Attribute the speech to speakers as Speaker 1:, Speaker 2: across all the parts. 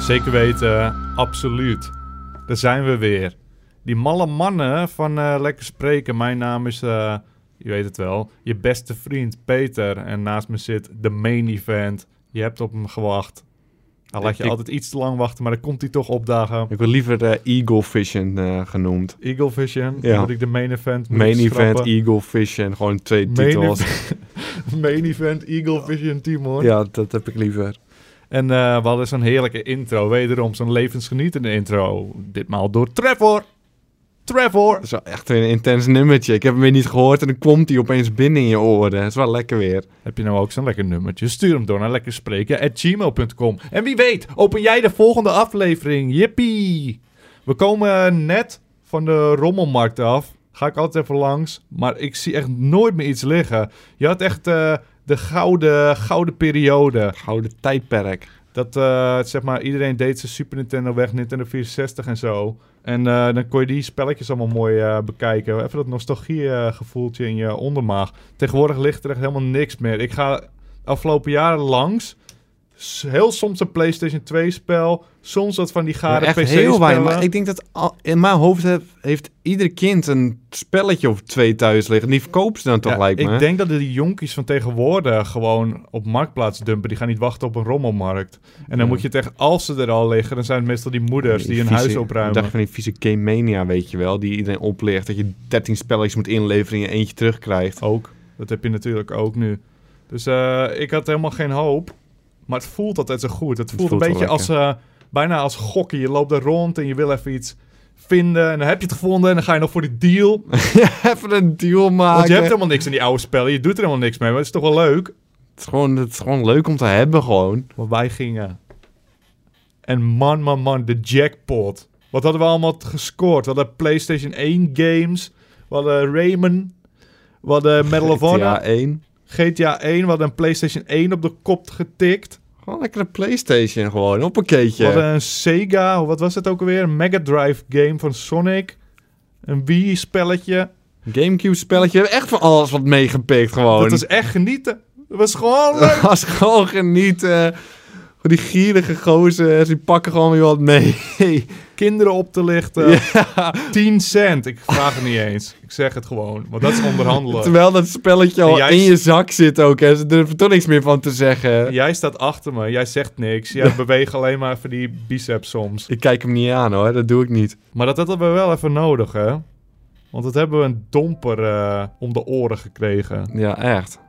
Speaker 1: Zeker weten, absoluut. Daar zijn we weer. Die malle mannen van eh, Lekker Spreken. Mijn naam is, eh, je weet het wel, je beste vriend Peter. En naast me zit de main event. Je hebt op hem gewacht. Hij laat je
Speaker 2: Ik-
Speaker 1: altijd iets te lang wachten, maar dan komt hij toch opdagen.
Speaker 2: Ik wil liever eh, Eagle Vision eh, genoemd.
Speaker 1: Eagle Vision,
Speaker 2: Ja.
Speaker 1: moet ik de main event moeten
Speaker 2: Main event
Speaker 1: schrappen.
Speaker 2: Eagle Vision, gewoon twee
Speaker 1: Main
Speaker 2: titels.
Speaker 1: Main event Eagle Vision Team, hoor.
Speaker 2: Ja, dat heb ik liever.
Speaker 1: En eh, we hadden zo'n heerlijke intro. Wederom zo'n levensgenietende intro. Ditmaal door Trevor. Trevor.
Speaker 2: Dat is wel echt weer een intens nummertje. Ik heb hem weer niet gehoord en dan komt hij opeens binnen in je oren. Dat is wel lekker weer.
Speaker 1: Heb je nou ook zo'n lekker nummertje? Stuur hem door naar lekkerspreken.gmail.com. En wie weet, open jij de volgende aflevering. Jippie! We komen net van de rommelmarkt af. Ga ik altijd even langs. Maar ik zie echt nooit meer iets liggen. Je had echt eh, de gouden, gouden periode.
Speaker 2: Gouden tijdperk.
Speaker 1: Dat eh, zeg maar, iedereen deed zijn Super Nintendo weg, Nintendo 64 en zo. En eh, dan kon je die spelletjes allemaal mooi eh, bekijken. Even dat nostalgie-gevoeltje in je ondermaag. Tegenwoordig ligt er echt helemaal niks meer. Ik ga afgelopen jaren langs. S- Heel soms een PlayStation 2-spel. Soms dat van die
Speaker 2: Maar
Speaker 1: gare
Speaker 2: echt
Speaker 1: PC-spellen.
Speaker 2: heel weinig. Maar ik denk dat al- in mijn hoofd heeft, heeft ieder kind een spelletje of twee thuis liggen. Die verkopen ze dan toch,
Speaker 1: Ja,
Speaker 2: lijkt me.
Speaker 1: Ik denk dat die jonkies van tegenwoordig gewoon op marktplaats dumpen. Die gaan niet wachten op een rommelmarkt. En dan
Speaker 2: Ja.
Speaker 1: moet je het echt, als ze er al liggen, dan zijn het meestal die moeders dus die hun
Speaker 2: vieze-
Speaker 1: huis
Speaker 2: Ik
Speaker 1: opruimen.
Speaker 2: dacht van die vieze Game Mania, weet je wel. Die iedereen oplicht. Dat je 13 spelletjes moet inleveren en je eentje terugkrijgt.
Speaker 1: Ook. Dat heb je natuurlijk ook nu. Dus eh, ik had helemaal geen hoop. Maar het voelt altijd zo goed. Het voelt,
Speaker 2: voelt
Speaker 1: een
Speaker 2: wel
Speaker 1: beetje als,
Speaker 2: lekker.
Speaker 1: eh, bijna als gokken. Je loopt daar rond en je wil even iets vinden. En dan heb je het gevonden en dan ga je nog voor die deal.
Speaker 2: Even een deal maken.
Speaker 1: Want je hebt helemaal niks in die oude spellen. Je doet er helemaal niks mee. Maar het is toch wel leuk.
Speaker 2: Het is, gewoon, het is gewoon leuk om te hebben, gewoon.
Speaker 1: Maar wij gingen. En man, man, man, de jackpot. Wat hadden we allemaal gescoord? We hadden PlayStation 1 games. We hadden Rayman. We hadden Medal of Honor.
Speaker 2: GTA 1.
Speaker 1: GTA 1, we hadden een PlayStation 1 op de kop getikt.
Speaker 2: Gewoon lekker een PlayStation, gewoon. Op een keetje.
Speaker 1: We hadden een Sega, wat was het ook alweer? Een Mega Drive game van Sonic. Een Wii-spelletje.
Speaker 2: Gamecube-spelletje. We hebben echt van alles wat meegepikt, gewoon.
Speaker 1: Dat was echt genieten. Dat was gewoon leuk.
Speaker 2: Dat was gewoon genieten. Die gierige gozers, die pakken gewoon weer wat mee.
Speaker 1: Kinderen op te lichten. 10 cent. Ik vraag het niet eens. Ik zeg het gewoon. Want dat is onderhandelen.
Speaker 2: Terwijl dat spelletje
Speaker 1: En
Speaker 2: al
Speaker 1: jij-
Speaker 2: in je zak zit ook. Hè. Ze durven toch niks meer van te zeggen.
Speaker 1: Jij staat achter me. Jij zegt niks. Jij beweegt alleen maar even die biceps soms.
Speaker 2: Ik kijk hem niet aan hoor, dat doe ik niet.
Speaker 1: Maar dat hadden we wel even nodig, hè? Want dat hebben we een domper eh, om de oren gekregen.
Speaker 2: Ja, echt.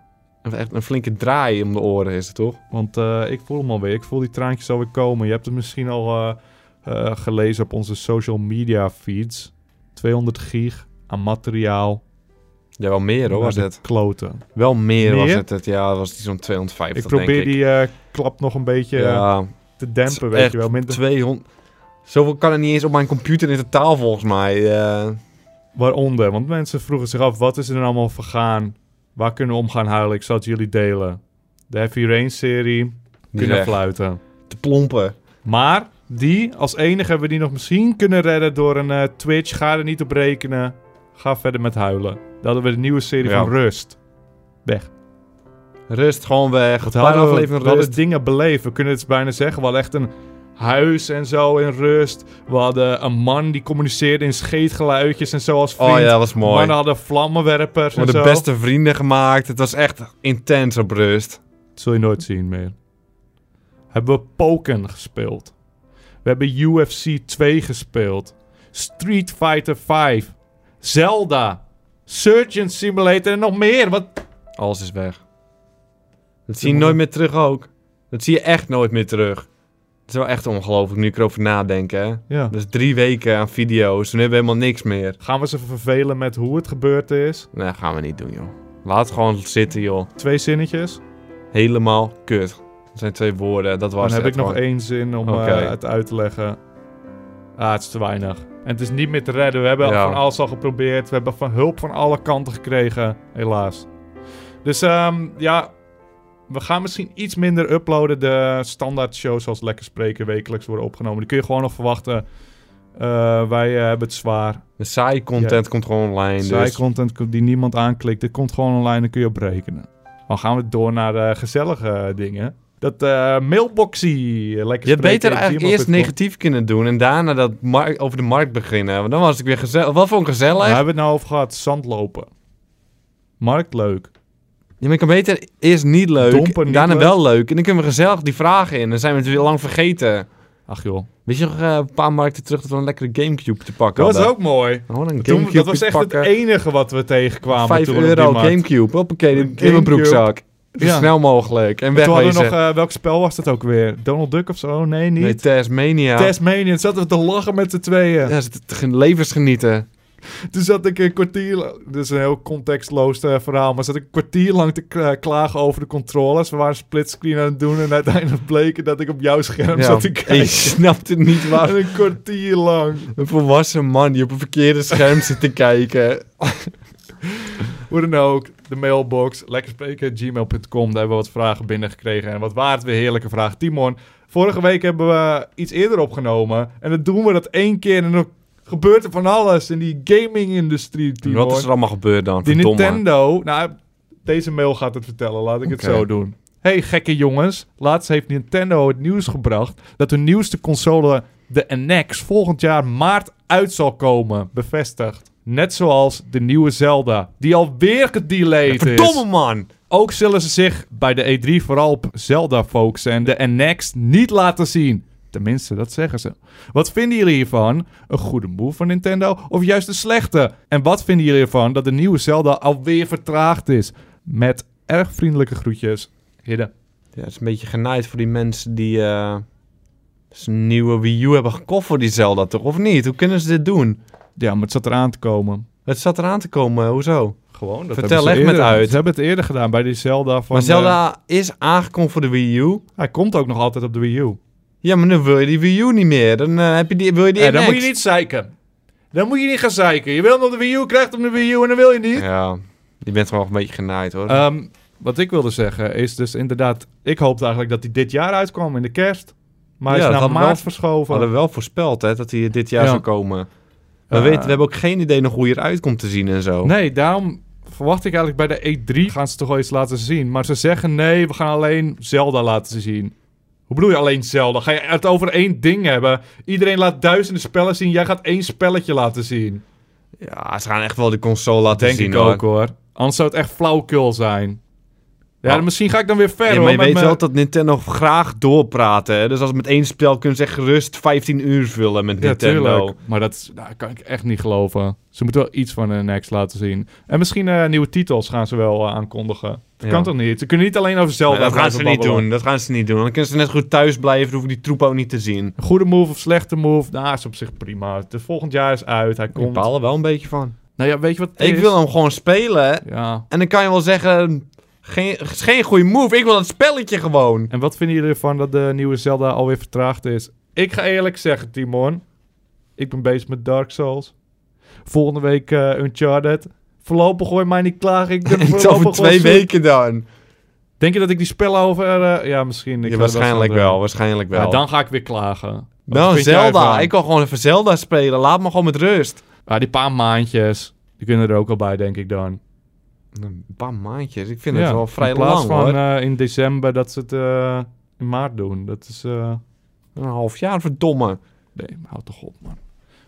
Speaker 2: Echt een flinke draai om de oren is het toch?
Speaker 1: Want eh, ik voel hem alweer. Ik voel die traantjes alweer komen. Je hebt het misschien al eh, eh, gelezen op onze social media feeds. 200 gig aan materiaal.
Speaker 2: Ja, wel meer hoor
Speaker 1: Naar
Speaker 2: was
Speaker 1: de
Speaker 2: het.
Speaker 1: Kloten.
Speaker 2: Wel meer, was
Speaker 1: Meer?
Speaker 2: het. het. Ja, dat was die zo'n 250
Speaker 1: Ik probeer eh,
Speaker 2: denk ik.
Speaker 1: die eh, klap nog een beetje
Speaker 2: ja,
Speaker 1: te
Speaker 2: het
Speaker 1: dempen,
Speaker 2: is
Speaker 1: weet
Speaker 2: echt
Speaker 1: je wel. Minder,
Speaker 2: 200... Zoveel kan er niet eens op mijn computer in totaal volgens mij. eh.
Speaker 1: waaronder. Want mensen vroegen zich af, wat is er nou allemaal vergaan? Waar kunnen we om gaan huilen? Ik zal het jullie delen. De Heavy Rain serie. Kunnen
Speaker 2: echt
Speaker 1: fluiten.
Speaker 2: te plompen.
Speaker 1: Maar die, als enige hebben we die nog misschien kunnen redden door een eh, Twitch. Ga er niet op rekenen. Ga verder met huilen. Dan hadden we de nieuwe serie
Speaker 2: Ja.
Speaker 1: van Rust. Weg.
Speaker 2: Rust gewoon weg. Een
Speaker 1: We
Speaker 2: paar
Speaker 1: hadden-
Speaker 2: afleveringen
Speaker 1: we hadden
Speaker 2: rust.
Speaker 1: dingen beleven. We kunnen het bijna zeggen. We hadden echt een huis en zo in rust. We hadden een man die communiceerde in scheetgeluidjes en zo als vriend.
Speaker 2: Oh ja, dat was mooi.
Speaker 1: Mannen hadden vlammenwerpers
Speaker 2: We
Speaker 1: en
Speaker 2: hadden
Speaker 1: zo.
Speaker 2: beste vrienden gemaakt. Het was echt intens op rust.
Speaker 1: Dat zul je nooit zien meer. Hebben we Pokken gespeeld. We hebben UFC 2 gespeeld. Street Fighter 5. Zelda. Surgeon Simulator en nog meer. Wat?
Speaker 2: Alles is weg. Dat zie je nooit meer terug ook. Dat zie je echt nooit meer terug. Het is wel echt ongelooflijk nu ik erover nadenk, hè.
Speaker 1: Ja.
Speaker 2: Dat is drie weken aan video's. Toen hebben we helemaal niks meer.
Speaker 1: Gaan we ze vervelen met hoe het gebeurd is?
Speaker 2: Nee, dat gaan we niet doen, joh. Laat het gewoon zitten, joh.
Speaker 1: Twee zinnetjes.
Speaker 2: Helemaal kut. Dat zijn twee woorden. Dat was
Speaker 1: Dan heb
Speaker 2: het
Speaker 1: ik nog
Speaker 2: gewoon.
Speaker 1: één zin om eh,
Speaker 2: Oké.
Speaker 1: het uit te leggen. Ah, het is te weinig. En het is niet meer te redden. We hebben
Speaker 2: Ja.
Speaker 1: van alles al geprobeerd. We hebben van hulp van alle kanten gekregen. Helaas. Dus ehm, ja, we gaan misschien iets minder uploaden. De standaard shows zoals Lekker Spreken wekelijks worden opgenomen. Die kun je gewoon nog verwachten. Eh, wij eh, hebben het zwaar.
Speaker 2: De saai content komt gewoon online.
Speaker 1: Zij
Speaker 2: Dus.
Speaker 1: content die niemand aanklikt. Dit komt gewoon online, daar kun je op rekenen. Dan gaan we door naar eh, gezellige dingen. Dat eh, mailboxie. eh, Lekker
Speaker 2: Je had beter
Speaker 1: spreken,
Speaker 2: eigenlijk eerst
Speaker 1: gmail.com.
Speaker 2: negatief kunnen doen en daarna dat mark- over de markt beginnen. Want dan was ik weer gezellig. Wat voor een gezellig.
Speaker 1: Waar
Speaker 2: Ja,
Speaker 1: hebben we het nou over gehad? Zandlopen. Markt leuk.
Speaker 2: maar ik kan beter eerst niet leuk,
Speaker 1: Domper niet
Speaker 2: daarna
Speaker 1: leuk.
Speaker 2: wel leuk. En dan kunnen we gezellig die vragen in. Dan zijn we het weer lang vergeten.
Speaker 1: Ach joh.
Speaker 2: Weet je nog eh, een paar markten terug dat we een lekkere Gamecube te pakken
Speaker 1: Dat was
Speaker 2: hadden?
Speaker 1: ook mooi.
Speaker 2: Gewoon een
Speaker 1: Toen,
Speaker 2: Gamecube
Speaker 1: dat was echt
Speaker 2: pakken.
Speaker 1: het enige wat we tegenkwamen.
Speaker 2: 5
Speaker 1: toen we op die
Speaker 2: euro
Speaker 1: markt-
Speaker 2: Gamecube. Hoppakee, in- in
Speaker 1: Gamecube.
Speaker 2: mijn broekzak. Zo
Speaker 1: Ja.
Speaker 2: snel mogelijk. En
Speaker 1: Toen hadden we
Speaker 2: wegwezen.
Speaker 1: nog, eh, welk spel was dat ook weer? Donald Duck of zo? Nee, niet.
Speaker 2: nee, Tasmania.
Speaker 1: Tasmania. Toen zaten we te lachen met z'n tweeën.
Speaker 2: Ja, ze te- te- levens genieten.
Speaker 1: Toen zat ik een kwartier... la- Dit is een heel contextloos eh, verhaal. Maar zat ik een kwartier lang te k- eh, klagen over de controllers. We waren splitscreen aan het doen. En uiteindelijk bleek het dat ik op jouw scherm
Speaker 2: Ja,
Speaker 1: zat te
Speaker 2: en je
Speaker 1: kijken.
Speaker 2: snapte niet waar
Speaker 1: En een kwartier lang.
Speaker 2: Een volwassen man die op een verkeerde scherm zit te kijken.
Speaker 1: Hoe dan ook, de mailbox, lekker spreken, gmail.com. Daar hebben we wat vragen binnengekregen. En wat waard weer heerlijke vraag. Timon, vorige week hebben we iets eerder opgenomen. En dan doen we dat één keer en dan gebeurt er van alles in die gaming-industrie, Timon.
Speaker 2: Wat is er allemaal gebeurd dan?
Speaker 1: die
Speaker 2: Verdomme.
Speaker 1: Nintendo... Nou, deze mail gaat het vertellen, laat ik het
Speaker 2: Oké.
Speaker 1: zo doen. Hey gekke jongens, laatst heeft Nintendo het nieuws gebracht... dat hun nieuwste console, de NX, volgend jaar maart uit zal komen. Bevestigd. Net zoals de nieuwe Zelda, die alweer gedelayed is.
Speaker 2: Verdomme man!
Speaker 1: Ook zullen ze zich bij de E3 vooral op Zelda focussen en de NX niet laten zien. Tenminste, dat zeggen ze. Wat vinden jullie hiervan? Een goede move van Nintendo of juist een slechte? En wat vinden jullie ervan dat de nieuwe Zelda alweer vertraagd is? Met erg vriendelijke groetjes, Hidde.
Speaker 2: Ja, het is een beetje genaaid voor die mensen die eh zijn nieuwe Wii U hebben gekocht voor die Zelda toch? Of niet? Hoe kunnen ze dit doen?
Speaker 1: Ja, maar het zat eraan te komen.
Speaker 2: Het zat eraan te komen, eh, hoezo?
Speaker 1: Gewoon,
Speaker 2: Vertel, leg me het uit.
Speaker 1: Ze hebben het eerder gedaan bij die Zelda van...
Speaker 2: maar
Speaker 1: eh,
Speaker 2: Zelda is aangekondigd voor de Wii U.
Speaker 1: hij komt ook nog altijd op de Wii U.
Speaker 2: Ja, maar dan wil je die Wii U niet meer. Dan eh, heb je die, wil je die
Speaker 1: Eh, dan
Speaker 2: NX.
Speaker 1: moet je niet zeiken. Dan moet je niet gaan zeiken. Je wil hem op de Wii U, krijgt hem op de Wii U en dan wil je niet.
Speaker 2: Ja, je bent gewoon een beetje genaaid hoor.
Speaker 1: Ehm, wat ik wilde zeggen is dus inderdaad... Ik hoopte eigenlijk dat hij dit jaar uitkwam in de kerst. Maar hij
Speaker 2: Ja,
Speaker 1: is
Speaker 2: dat
Speaker 1: naar
Speaker 2: hadden we
Speaker 1: maart
Speaker 2: wel- We
Speaker 1: verschoven.
Speaker 2: hadden wel voorspeld hè, dat hij dit jaar
Speaker 1: Ja.
Speaker 2: zou komen. Maar
Speaker 1: Eh,
Speaker 2: weet, we hebben ook geen idee nog hoe je eruit komt te zien en zo.
Speaker 1: Nee, daarom verwacht ik eigenlijk bij de E3 gaan ze toch wel iets laten zien. Maar ze zeggen nee, we gaan alleen Zelda laten zien. Hoe bedoel je alleen Zelda? Ga je het over één ding hebben? Iedereen laat duizenden spellen zien. Jij gaat één spelletje laten zien.
Speaker 2: Ja, ze gaan echt wel de console laten
Speaker 1: Denk
Speaker 2: zien
Speaker 1: ik ook hoor. Anders zou het echt flauwkul zijn. Ja,
Speaker 2: Nou,
Speaker 1: dan misschien ga ik dan weer
Speaker 2: Ja,
Speaker 1: verder.
Speaker 2: maar
Speaker 1: hoor,
Speaker 2: je
Speaker 1: met
Speaker 2: weet
Speaker 1: mijn-
Speaker 2: wel dat Nintendo graag doorpraten. Hè? Dus als het met één spel kunnen ze echt gerust 15 uur vullen met
Speaker 1: Ja,
Speaker 2: Nintendo.
Speaker 1: tuurlijk. Maar dat is- nou, kan ik echt niet geloven. Ze moeten wel iets van een Next laten zien. En misschien eh, nieuwe titels gaan ze wel eh, aankondigen. Dat
Speaker 2: Ja.
Speaker 1: kan toch niet? Ze kunnen niet alleen over
Speaker 2: Maar
Speaker 1: Zelda
Speaker 2: dat gaan
Speaker 1: blijven
Speaker 2: ze niet
Speaker 1: babbelen.
Speaker 2: doen. Dat gaan ze niet doen. Dan kunnen ze net goed thuis blijven. Dan hoeven die troep ook niet te zien.
Speaker 1: Een Goede move of slechte move? Nou, is op zich prima. De volgend jaar is uit. Hij
Speaker 2: Ik
Speaker 1: komt.
Speaker 2: baal er wel een beetje van.
Speaker 1: Nou ja, weet je wat het
Speaker 2: Ik
Speaker 1: is?
Speaker 2: wil hem gewoon spelen.
Speaker 1: Ja.
Speaker 2: En dan kan je wel zeggen... Geen, is geen goede move. Ik wil dat spelletje gewoon.
Speaker 1: En wat vinden jullie ervan dat de nieuwe Zelda alweer vertraagd is? Ik ga eerlijk zeggen, Timon. Ik ben bezig met Dark Souls. Volgende week eh, Uncharted. Voorlopig gooi mij niet klaar. Ik ben
Speaker 2: Iets
Speaker 1: voorlopig
Speaker 2: over
Speaker 1: wel
Speaker 2: twee
Speaker 1: zoet.
Speaker 2: weken dan.
Speaker 1: Denk je dat ik die spellen over... eh, ja, misschien. Ik
Speaker 2: Ja,
Speaker 1: ga er wat
Speaker 2: waarschijnlijk
Speaker 1: aan
Speaker 2: wel.
Speaker 1: doen.
Speaker 2: Waarschijnlijk wel.
Speaker 1: Ja, dan ga ik weer klagen. Wat
Speaker 2: Nou,
Speaker 1: vind jij
Speaker 2: Zelda.
Speaker 1: ervan?
Speaker 2: Ik kan gewoon even Zelda spelen. Laat me gewoon met rust.
Speaker 1: Ja, die paar maandjes, die kunnen er ook al bij, denk ik dan.
Speaker 2: Een paar maandjes. Ik vind
Speaker 1: Ja,
Speaker 2: het wel vrij
Speaker 1: in plaats
Speaker 2: lang
Speaker 1: van
Speaker 2: hoor.
Speaker 1: eh, in december dat ze het eh, in maart doen. Dat is... eh,
Speaker 2: Een half jaar, verdomme.
Speaker 1: Nee, maar houd toch op, man.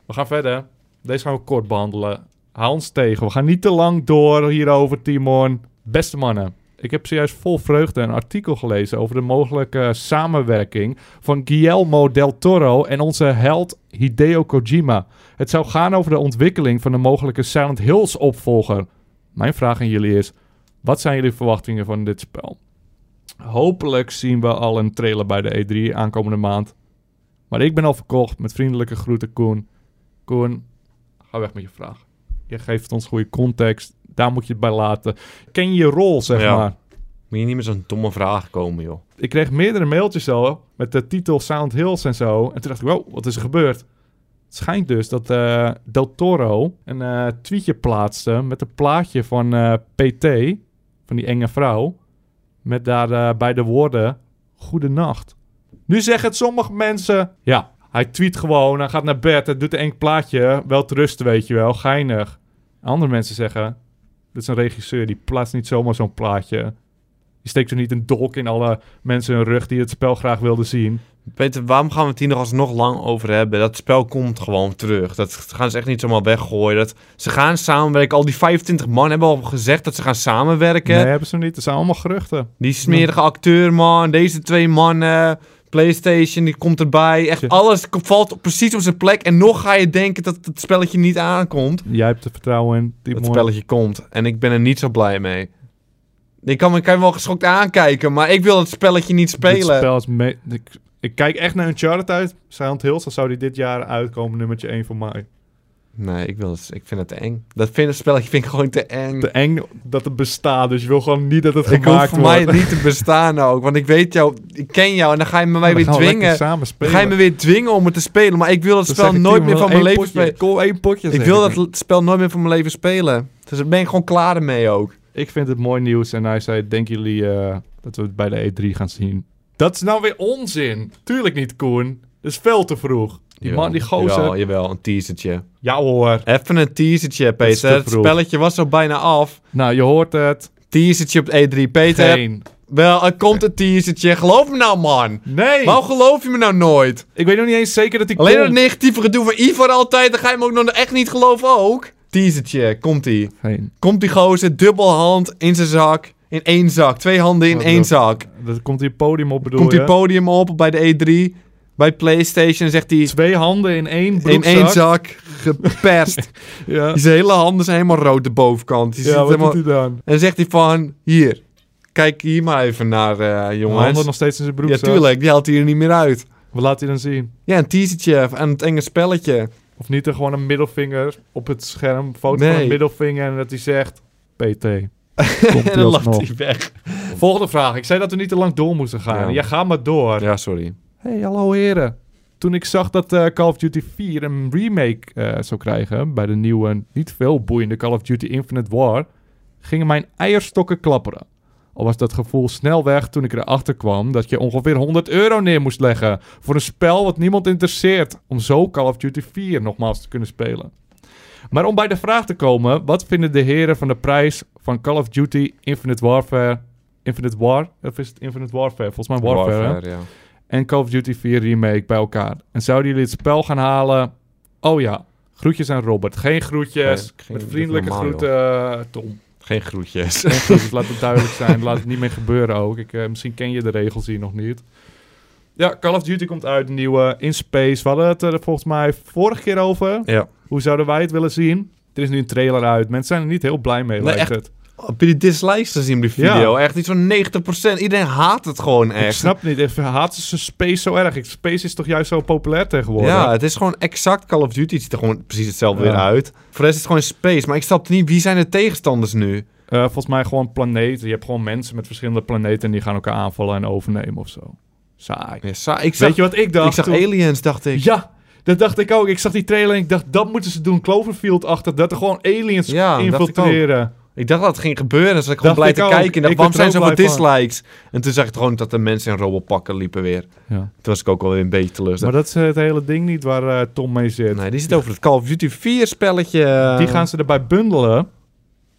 Speaker 1: We gaan verder. Deze gaan we kort behandelen. Hou ons tegen. We gaan niet te lang door hierover, Timon. Beste mannen, ik heb zojuist vol vreugde een artikel gelezen over de mogelijke samenwerking van Guillermo del Toro en onze held Hideo Kojima. Het zou gaan over de ontwikkeling van de mogelijke Silent Hills opvolger. Mijn vraag aan jullie is: wat zijn jullie verwachtingen van dit spel? Hopelijk zien we al een trailer bij de E3 aankomende maand. Maar ik ben al verkocht met vriendelijke groeten, Koen. Koen, ga weg met je vraag. Je geeft ons goede context. Daar moet je het bij laten. Ken je je rol, zeg
Speaker 2: Ja.
Speaker 1: maar.
Speaker 2: Moet je niet met zo'n domme vraag komen, joh.
Speaker 1: Ik kreeg meerdere mailtjes al met de titel Sound Hills en zo. En toen dacht ik, wow, wat is er gebeurd? Het schijnt dus dat eh, Del Toro een eh, tweetje plaatste met een plaatje van eh, PT, van die enge vrouw, met daar eh, bij de woorden Goedenacht. Nu zeggen het sommige mensen, ja, hij tweet gewoon, hij gaat naar bed, hij doet een eng plaatje, wel rust, weet je wel, geinig. Andere mensen zeggen, dit is een regisseur, die plaatst niet zomaar zo'n plaatje. Die Je steekt er niet een dolk in alle mensen hun rug die het spel graag wilden zien.
Speaker 2: Peter, waarom gaan we het hier nog alsnog lang over hebben? Dat spel komt gewoon terug. Dat gaan ze echt niet zomaar weggooien. Dat, ze gaan samenwerken. Al die 25 man hebben al gezegd dat ze gaan samenwerken.
Speaker 1: Nee, hebben ze niet. Dat zijn allemaal geruchten.
Speaker 2: Die smerige acteur, man. Deze twee mannen. PlayStation, die komt erbij. Echt
Speaker 1: Tje.
Speaker 2: alles k- valt op- precies op zijn plek. En nog ga je denken dat het spelletje niet aankomt.
Speaker 1: Jij hebt er vertrouwen in. Die
Speaker 2: Dat
Speaker 1: mooi.
Speaker 2: spelletje komt. En ik ben er niet zo blij mee. Ik kan me, kan me wel geschokt aankijken, maar ik wil het spelletje niet
Speaker 1: Dit
Speaker 2: spelen.
Speaker 1: spel is me- ik, ik kijk echt naar Uncharted uit. Silent Hills, dan zou die dit jaar uitkomen, nummertje 1 voor mij.
Speaker 2: Nee, ik, wil het, ik vind het te eng. Dat, vind, dat spelletje vind ik gewoon te eng.
Speaker 1: Te eng dat het bestaat, dus je wil gewoon niet dat het
Speaker 2: Ik hoef
Speaker 1: gemaakt
Speaker 2: voor
Speaker 1: wordt.
Speaker 2: mij niet te bestaan ook. Want ik weet jou, ik ken jou en dan ga je me mij
Speaker 1: Dan
Speaker 2: weer
Speaker 1: gaan we lekker
Speaker 2: dwingen.
Speaker 1: samen
Speaker 2: Dan
Speaker 1: spelen.
Speaker 2: ga je me weer dwingen om het te spelen. Maar ik wil het
Speaker 1: Dan
Speaker 2: spel
Speaker 1: zeg ik,
Speaker 2: nooit
Speaker 1: Timo,
Speaker 2: meer
Speaker 1: één
Speaker 2: van mijn leven
Speaker 1: potje.
Speaker 2: spelen.
Speaker 1: Kom één potje
Speaker 2: Ik
Speaker 1: zeg
Speaker 2: wil dat l- spel nooit meer van mijn leven spelen. Dus daar ben ik gewoon klaar ermee ook.
Speaker 1: Ik vind het mooi nieuws en hij zei, denken jullie eh, dat we het bij de E3 gaan zien? Dat is nou weer onzin. Tuurlijk niet, Koen. Dat is veel te vroeg. Die man, die gozer.
Speaker 2: Jawel, jawel, een teasertje.
Speaker 1: Ja hoor.
Speaker 2: Even een teasertje,
Speaker 1: Dat is te
Speaker 2: Peter. Het
Speaker 1: vroeg.
Speaker 2: spelletje was al bijna af.
Speaker 1: Nou, je hoort het.
Speaker 2: Teasertje op E3, Peter.
Speaker 1: Geen.
Speaker 2: Wel, er komt een teasertje. Geloof me nou, man.
Speaker 1: Nee!
Speaker 2: Waarom geloof je me nou nooit?
Speaker 1: Ik weet nog niet eens zeker dat hij
Speaker 2: Alleen dat
Speaker 1: komt.
Speaker 2: negatieve gedoe van Ivar altijd, dan ga je me ook nog echt niet geloven ook. Teasertje, komt-ie.
Speaker 1: Geen.
Speaker 2: Komt die gozer, dubbel hand in zijn zak. In één zak, twee handen in
Speaker 1: Wat
Speaker 2: één
Speaker 1: dat-
Speaker 2: zak.
Speaker 1: Dat komt hier podium op, bedoel
Speaker 2: Komt
Speaker 1: je?
Speaker 2: die podium op bij de E3, bij PlayStation, zegt hij...
Speaker 1: Twee handen in één broekzak.
Speaker 2: In één zak, geperst.
Speaker 1: Ja,
Speaker 2: Die zijn hele handen zijn helemaal rood, de bovenkant. Die
Speaker 1: ja
Speaker 2: zit
Speaker 1: wat
Speaker 2: helemaal...
Speaker 1: doet hij dan?
Speaker 2: En dan zegt hij van, hier, kijk hier maar even naar, eh,
Speaker 1: Jongens. Handen
Speaker 2: jongens.
Speaker 1: nog steeds in zijn
Speaker 2: Ja,
Speaker 1: broekzak.
Speaker 2: tuurlijk, die haalt hij er niet meer uit.
Speaker 1: Wat laat hij dan zien?
Speaker 2: Ja, een teasertje aan het enge spelletje.
Speaker 1: Of niet er gewoon een middelvinger op het scherm. Foto van
Speaker 2: Nee.
Speaker 1: een middelvinger en dat hij zegt... PT.
Speaker 2: en dan lacht hij weg.
Speaker 1: Volgende vraag. Ik zei dat we niet te lang door moesten gaan.
Speaker 2: Ja.
Speaker 1: Ja, ga maar door.
Speaker 2: Ja, sorry.
Speaker 1: Hey, hallo heren. Toen ik zag dat eh, Call of Duty 4 een remake eh, zou krijgen... bij de nieuwe, niet veel boeiende Call of Duty Infinite War... gingen mijn eierstokken klapperen. Al was dat gevoel snel weg toen ik erachter kwam... dat je ongeveer 100 euro neer moest leggen... voor een spel wat niemand interesseert... om zo Call of Duty 4 nogmaals te kunnen spelen. Maar om bij de vraag te komen... wat vinden de heren van de prijs van Call of Duty Infinite Warfare... Infinite War? Of is het Infinite Warfare? Volgens mij Warfare, hè?
Speaker 2: ja.
Speaker 1: en Call of Duty 4 Remake bij elkaar. En zouden jullie het spel gaan halen? Oh ja, groetjes aan Robert. Geen groetjes.
Speaker 2: Nee, geen-
Speaker 1: Met vriendelijke
Speaker 2: normaal,
Speaker 1: groeten, eh, Tom.
Speaker 2: Geen groetjes.
Speaker 1: Geen groetjes, laat het duidelijk zijn. Laat het niet meer gebeuren ook. Ik, eh, misschien ken je de regels hier nog niet. Ja, Call of Duty komt uit, een nieuwe in space. We hadden het er volgens mij vorige keer over.
Speaker 2: Ja.
Speaker 1: Hoe zouden wij het willen zien? Er is nu een trailer uit. Mensen zijn er niet heel blij mee,
Speaker 2: Nee,
Speaker 1: lijkt
Speaker 2: echt
Speaker 1: het.
Speaker 2: Heb je die dislikes gezien op die
Speaker 1: Ja.
Speaker 2: video? Echt iets van 90%. Iedereen haat het gewoon echt.
Speaker 1: Ik snap het niet. Ik haat ze space zo erg. Ik- Space is toch juist zo populair tegenwoordig?
Speaker 2: Ja, het is gewoon exact Call of Duty. Het ziet er gewoon precies hetzelfde
Speaker 1: Ja.
Speaker 2: weer uit. Voor de rest is het gewoon space. Maar ik snap niet, wie zijn de tegenstanders nu?
Speaker 1: Eh, volgens mij gewoon planeten. Je hebt gewoon mensen met verschillende planeten en die gaan elkaar aanvallen en overnemen of zo. Saai.
Speaker 2: Ja, sa- ik zag,
Speaker 1: Weet je wat ik dacht?
Speaker 2: ik zag
Speaker 1: toen-
Speaker 2: aliens, dacht ik.
Speaker 1: Ja, dat dacht ik ook. Ik zag die trailer en ik dacht, dat moeten ze doen. Cloverfield-achtig, dat er gewoon aliens
Speaker 2: Ja, dacht ik
Speaker 1: infiltreren.
Speaker 2: Ik dacht dat het ging gebeuren. Dus ik gewoon
Speaker 1: Dacht
Speaker 2: blij
Speaker 1: ik
Speaker 2: te
Speaker 1: ook.
Speaker 2: kijken. En dacht,
Speaker 1: Ik
Speaker 2: waarom
Speaker 1: werd
Speaker 2: zijn
Speaker 1: er
Speaker 2: zoveel
Speaker 1: ook blij
Speaker 2: dislikes? En toen zag ik gewoon dat de mensen in robotpakken liepen weer.
Speaker 1: Ja.
Speaker 2: Toen was ik ook wel weer een beetje
Speaker 1: Maar
Speaker 2: teleurgesteld.
Speaker 1: dat is eh, het hele ding niet waar eh, Tom mee zit.
Speaker 2: Nee, die zit over het Call of Duty 4 spelletje. ehm,
Speaker 1: Die gaan ze erbij bundelen.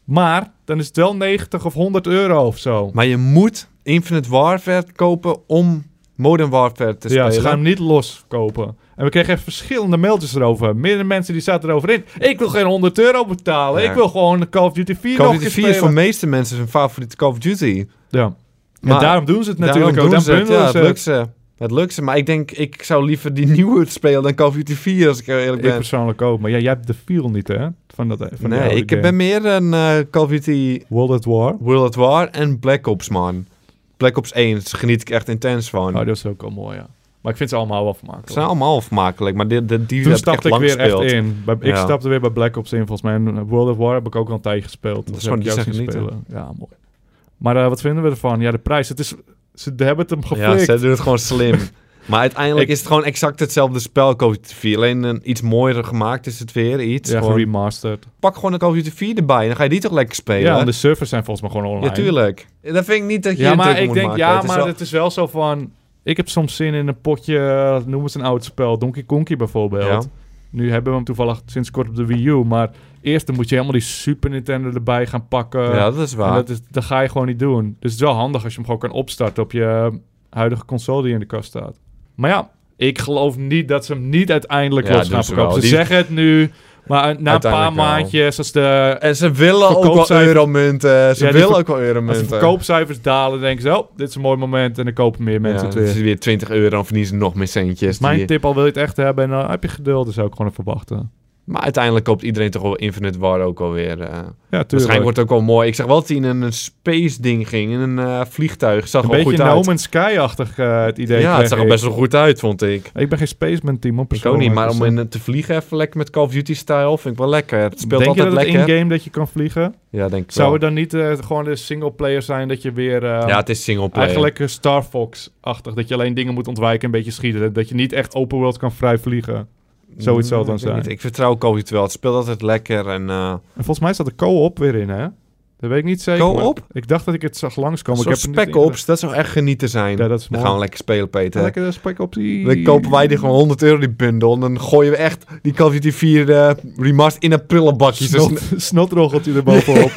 Speaker 1: Maar dan is het wel 90 of 100 euro of zo.
Speaker 2: Maar je moet Infinite Warfare kopen om Modern Warfare te
Speaker 1: Ja,
Speaker 2: spelen.
Speaker 1: ze gaan hem niet loskopen. En we kregen echt verschillende mailtjes erover. Meerdere mensen die zaten erover in. Ik wil geen 100 euro betalen.
Speaker 2: Ja.
Speaker 1: Ik wil gewoon Call of Duty 4
Speaker 2: Call
Speaker 1: nog
Speaker 2: of
Speaker 1: een
Speaker 2: Duty
Speaker 1: keer
Speaker 2: 4 is voor
Speaker 1: spelen.
Speaker 2: de meeste mensen hun favoriete Call of Duty.
Speaker 1: Ja.
Speaker 2: Maar
Speaker 1: en daarom doen ze het
Speaker 2: Daarom
Speaker 1: natuurlijk ook.
Speaker 2: doen
Speaker 1: Dan
Speaker 2: ze het,
Speaker 1: bundelen
Speaker 2: ja,
Speaker 1: ze het.
Speaker 2: het lukt ze. Het lukt ze, maar ik denk, ik zou liever die nieuwe spelen dan Call of Duty 4, als ik heel eerlijk
Speaker 1: Ik
Speaker 2: ben.
Speaker 1: persoonlijk ook. Maar ja, jij hebt de feel niet, hè? Van dat, van die
Speaker 2: nee,
Speaker 1: oude
Speaker 2: ik
Speaker 1: game.
Speaker 2: ben meer een eh, Call of Duty
Speaker 1: World at War.
Speaker 2: World at War en Black Ops, man. Black Ops 1 geniet ik echt intens van.
Speaker 1: Oh, dat is ook al mooi, ja. Maar ik vind ze allemaal wel
Speaker 2: Het
Speaker 1: vermakelijk.
Speaker 2: zijn allemaal afmakelijk, maar die, die, die
Speaker 1: Toen
Speaker 2: heb ik echt
Speaker 1: stapte ik
Speaker 2: lang
Speaker 1: weer
Speaker 2: gespeeld.
Speaker 1: echt in. Bij, ik
Speaker 2: Ja.
Speaker 1: stapte weer bij Black Ops in, volgens mij. En World of War heb ik ook al een tijdje gespeeld. Dus
Speaker 2: Dat is
Speaker 1: heb
Speaker 2: gewoon
Speaker 1: ik jou
Speaker 2: die
Speaker 1: zien
Speaker 2: zeggen niet,
Speaker 1: Ja, mooi. Maar eh, wat vinden we ervan? Ja, de prijs. Het is, ze hebben het hem
Speaker 2: Ja,
Speaker 1: geflikt.
Speaker 2: ze doen het gewoon slim. maar uiteindelijk
Speaker 1: Ik-
Speaker 2: is het gewoon exact hetzelfde spel, Call of Duty 4. Alleen een, iets mooier gemaakt is het weer, iets.
Speaker 1: ja,
Speaker 2: gewoon-
Speaker 1: geremasterd.
Speaker 2: pak gewoon een Call of Duty 4 erbij, dan ga je die toch lekker spelen.
Speaker 1: Ja, en de servers zijn volgens mij gewoon online.
Speaker 2: Ja, tuurlijk. Dat vind ik niet dat je
Speaker 1: Ja,
Speaker 2: een
Speaker 1: maar
Speaker 2: druk
Speaker 1: ik
Speaker 2: moet
Speaker 1: denk,
Speaker 2: maken.
Speaker 1: ja,
Speaker 2: Het is
Speaker 1: maar
Speaker 2: wel-
Speaker 1: het is wel zo van... Ik heb soms zin in een potje, eh, noem eens een oud spel, Donkey Konky bijvoorbeeld.
Speaker 2: Ja.
Speaker 1: Nu hebben we hem toevallig sinds kort op de Wii U, maar eerst dan moet je helemaal die Super Nintendo erbij gaan pakken.
Speaker 2: ja, dat is
Speaker 1: En
Speaker 2: waar.
Speaker 1: dat, is, dat ga je gewoon niet doen. Dus het is wel handig als je hem gewoon kan opstarten op je eh, huidige console die in de kast staat. Maar ja, ik geloof niet dat ze hem niet uiteindelijk
Speaker 2: Ja,
Speaker 1: los
Speaker 2: doen
Speaker 1: gaan
Speaker 2: ze
Speaker 1: verkopen. Ze
Speaker 2: wel. Die-
Speaker 1: zeggen het nu, maar eh, na een paar
Speaker 2: Uiteindelijk wel.
Speaker 1: maandjes als de,
Speaker 2: En ze willen ook wel
Speaker 1: Verkoopcijfers-
Speaker 2: euromunten. Ze
Speaker 1: Ja, die
Speaker 2: willen
Speaker 1: ver-
Speaker 2: ook wel
Speaker 1: als de
Speaker 2: euromunten.
Speaker 1: verkoopcijfers dalen, denken ze, oh, dit is een mooi moment en dan kopen meer
Speaker 2: Ja,
Speaker 1: mensen
Speaker 2: dan
Speaker 1: het weer.
Speaker 2: is het weer 20 euro, dan verdienen ze nog meer centjes.
Speaker 1: Mijn
Speaker 2: Die-
Speaker 1: tip al wil je het echt hebben en dan heb je geduld, dan zou ik gewoon even wachten.
Speaker 2: Maar uiteindelijk koopt iedereen toch wel Infinite War ook alweer.
Speaker 1: Ja,
Speaker 2: eh
Speaker 1: tuurlijk.
Speaker 2: waarschijnlijk wordt het ook wel mooi. Ik zag wel dat hij in een space ding ging, in een eh, vliegtuig. Zag
Speaker 1: een
Speaker 2: er wel
Speaker 1: beetje
Speaker 2: goed
Speaker 1: No
Speaker 2: uit.
Speaker 1: Man's Sky-achtig eh, het idee.
Speaker 2: ja, het
Speaker 1: kreeg
Speaker 2: zag er
Speaker 1: ik.
Speaker 2: best wel goed uit, vond ik.
Speaker 1: Ik ben geen spaceman dus team op
Speaker 2: Ik ook niet, maar om in, te vliegen even lekker met Call of Duty style vind ik wel lekker. Het speelt
Speaker 1: Denk je
Speaker 2: altijd
Speaker 1: dat het
Speaker 2: lekker.
Speaker 1: in-game dat je kan vliegen?
Speaker 2: Ja, denk ik
Speaker 1: Zou
Speaker 2: wel.
Speaker 1: het dan niet eh, gewoon de singleplayer zijn dat je weer... eh,
Speaker 2: Ja, het is singleplayer.
Speaker 1: eigenlijk eh, Star Fox-achtig. Dat je alleen dingen moet ontwijken en een beetje schieten. Dat je niet echt open world kan vrij vliegen. zoiets zal het dan
Speaker 2: Mm, ik weet
Speaker 1: zijn.
Speaker 2: niet. Ik vertrouw Call of Duty wel. Het speelt altijd lekker en... eh,
Speaker 1: En volgens mij staat de co-op weer in, hè? Dat weet ik niet zeker.
Speaker 2: Co-op?
Speaker 1: maar Ik dacht dat ik het zag langskomen.
Speaker 2: Zo'n
Speaker 1: ik heb het niet
Speaker 2: Spec Ops, dat zou echt genieten zijn.
Speaker 1: ingedrukt. Ja, dat is
Speaker 2: Dan
Speaker 1: mooi.
Speaker 2: gaan we lekker spelen, Peter.
Speaker 1: Lekker de Spec Ops. die-
Speaker 2: Dan kopen wij die gewoon 100 euro, die bundel. En dan gooien we echt die Call of Duty 4 eh remastered in een prullenbakje. Dus
Speaker 1: Snot, snotroggeltje erbovenop.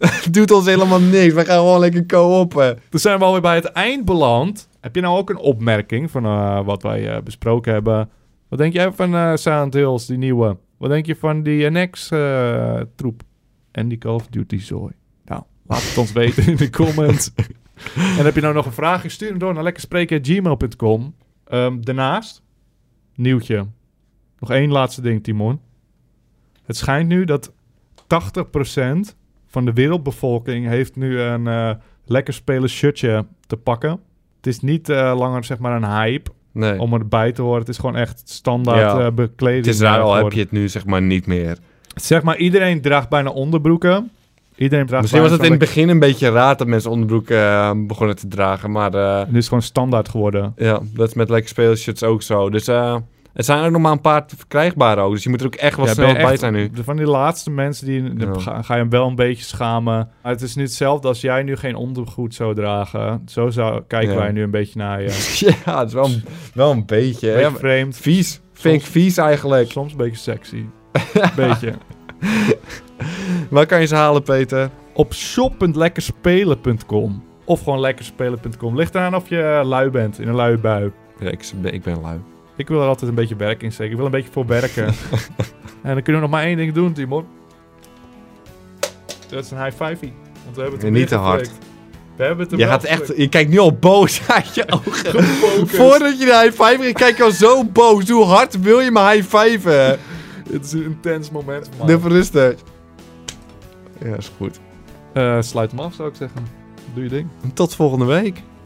Speaker 2: het doet ons helemaal niks. Wij gaan gewoon lekker co-op. eh.
Speaker 1: Toen zijn we alweer bij het eind beland. Heb je nou ook een opmerking van eh, wat wij eh, besproken hebben? Wat denk jij van eh Silent Hills, die nieuwe? Wat denk je van die eh, NX-troep? en die Call of Duty zooi. Nou, laat het ons weten in de comments. en heb je nou nog een vraag? Stuur hem door naar lekkerspreken.gmail.com. Ehm daarnaast, nieuwtje. Nog één laatste ding, Timon. Het schijnt nu dat 80% van de wereldbevolking heeft nu een... eh, lekker spelen shirtje te pakken. Het is niet eh, langer zeg maar een hype
Speaker 2: Nee.
Speaker 1: om erbij te horen. Het is gewoon echt standaard
Speaker 2: Ja.
Speaker 1: eh, bekleding.
Speaker 2: Het is raar,
Speaker 1: eh,
Speaker 2: al heb
Speaker 1: geworden.
Speaker 2: je het nu zeg maar niet meer.
Speaker 1: Zeg maar, iedereen draagt bijna onderbroeken. Iedereen draagt
Speaker 2: Misschien was
Speaker 1: bijna
Speaker 2: het in het
Speaker 1: zo'n
Speaker 2: begin een beetje raar dat mensen onderbroeken eh, begonnen te dragen. Maar eh,
Speaker 1: lekker- Het is gewoon standaard geworden.
Speaker 2: ja, dat is met lekker spelen shirts ook zo. Dus eh er zijn ook nog maar een paar te verkrijgbaar ook. Dus je moet er ook echt wel
Speaker 1: Ja, ben
Speaker 2: snel
Speaker 1: je
Speaker 2: bij
Speaker 1: echt
Speaker 2: zijn nu.
Speaker 1: Van die laatste mensen, die, dan
Speaker 2: Ja.
Speaker 1: ga, ga je hem wel een beetje schamen. Maar het is niet hetzelfde als jij nu geen ondergoed zou dragen. Zo zou, kijken
Speaker 2: Ja.
Speaker 1: wij nu een beetje naar je.
Speaker 2: ja, het is wel een, wel een beetje. hè.
Speaker 1: Beetje vreemd.
Speaker 2: Vies. Vind ik vies eigenlijk.
Speaker 1: Soms een beetje sexy. beetje.
Speaker 2: Waar kan je ze halen, Peter?
Speaker 1: op shop.lekkerspelen.com. Of gewoon lekkerspelen.com. Ligt eraan of je eh, lui bent, in een luie bui.
Speaker 2: Ja, ik, ben- ik ben lui.
Speaker 1: Ik wil er altijd een beetje werk in steken. Ik wil een beetje voor werken. en dan kunnen we nog maar één ding doen, Timon. Dat is een high five. Want we hebben het
Speaker 2: En
Speaker 1: hem
Speaker 2: niet te hard.
Speaker 1: weggeflikt. We hebben het er
Speaker 2: Je,
Speaker 1: wel
Speaker 2: gaat echt,
Speaker 1: geflikt.
Speaker 2: je kijkt nu al boos uit je ogen.
Speaker 1: Gefocust.
Speaker 2: Voordat je de high five ging, kijk je al zo boos. Hoe hard wil je me high fiven?
Speaker 1: Het is een intens moment. voor mij.
Speaker 2: Even rustig. Ja, is goed.
Speaker 1: Eh, sluit hem af, zou ik zeggen. Doe je ding.
Speaker 2: Tot volgende week.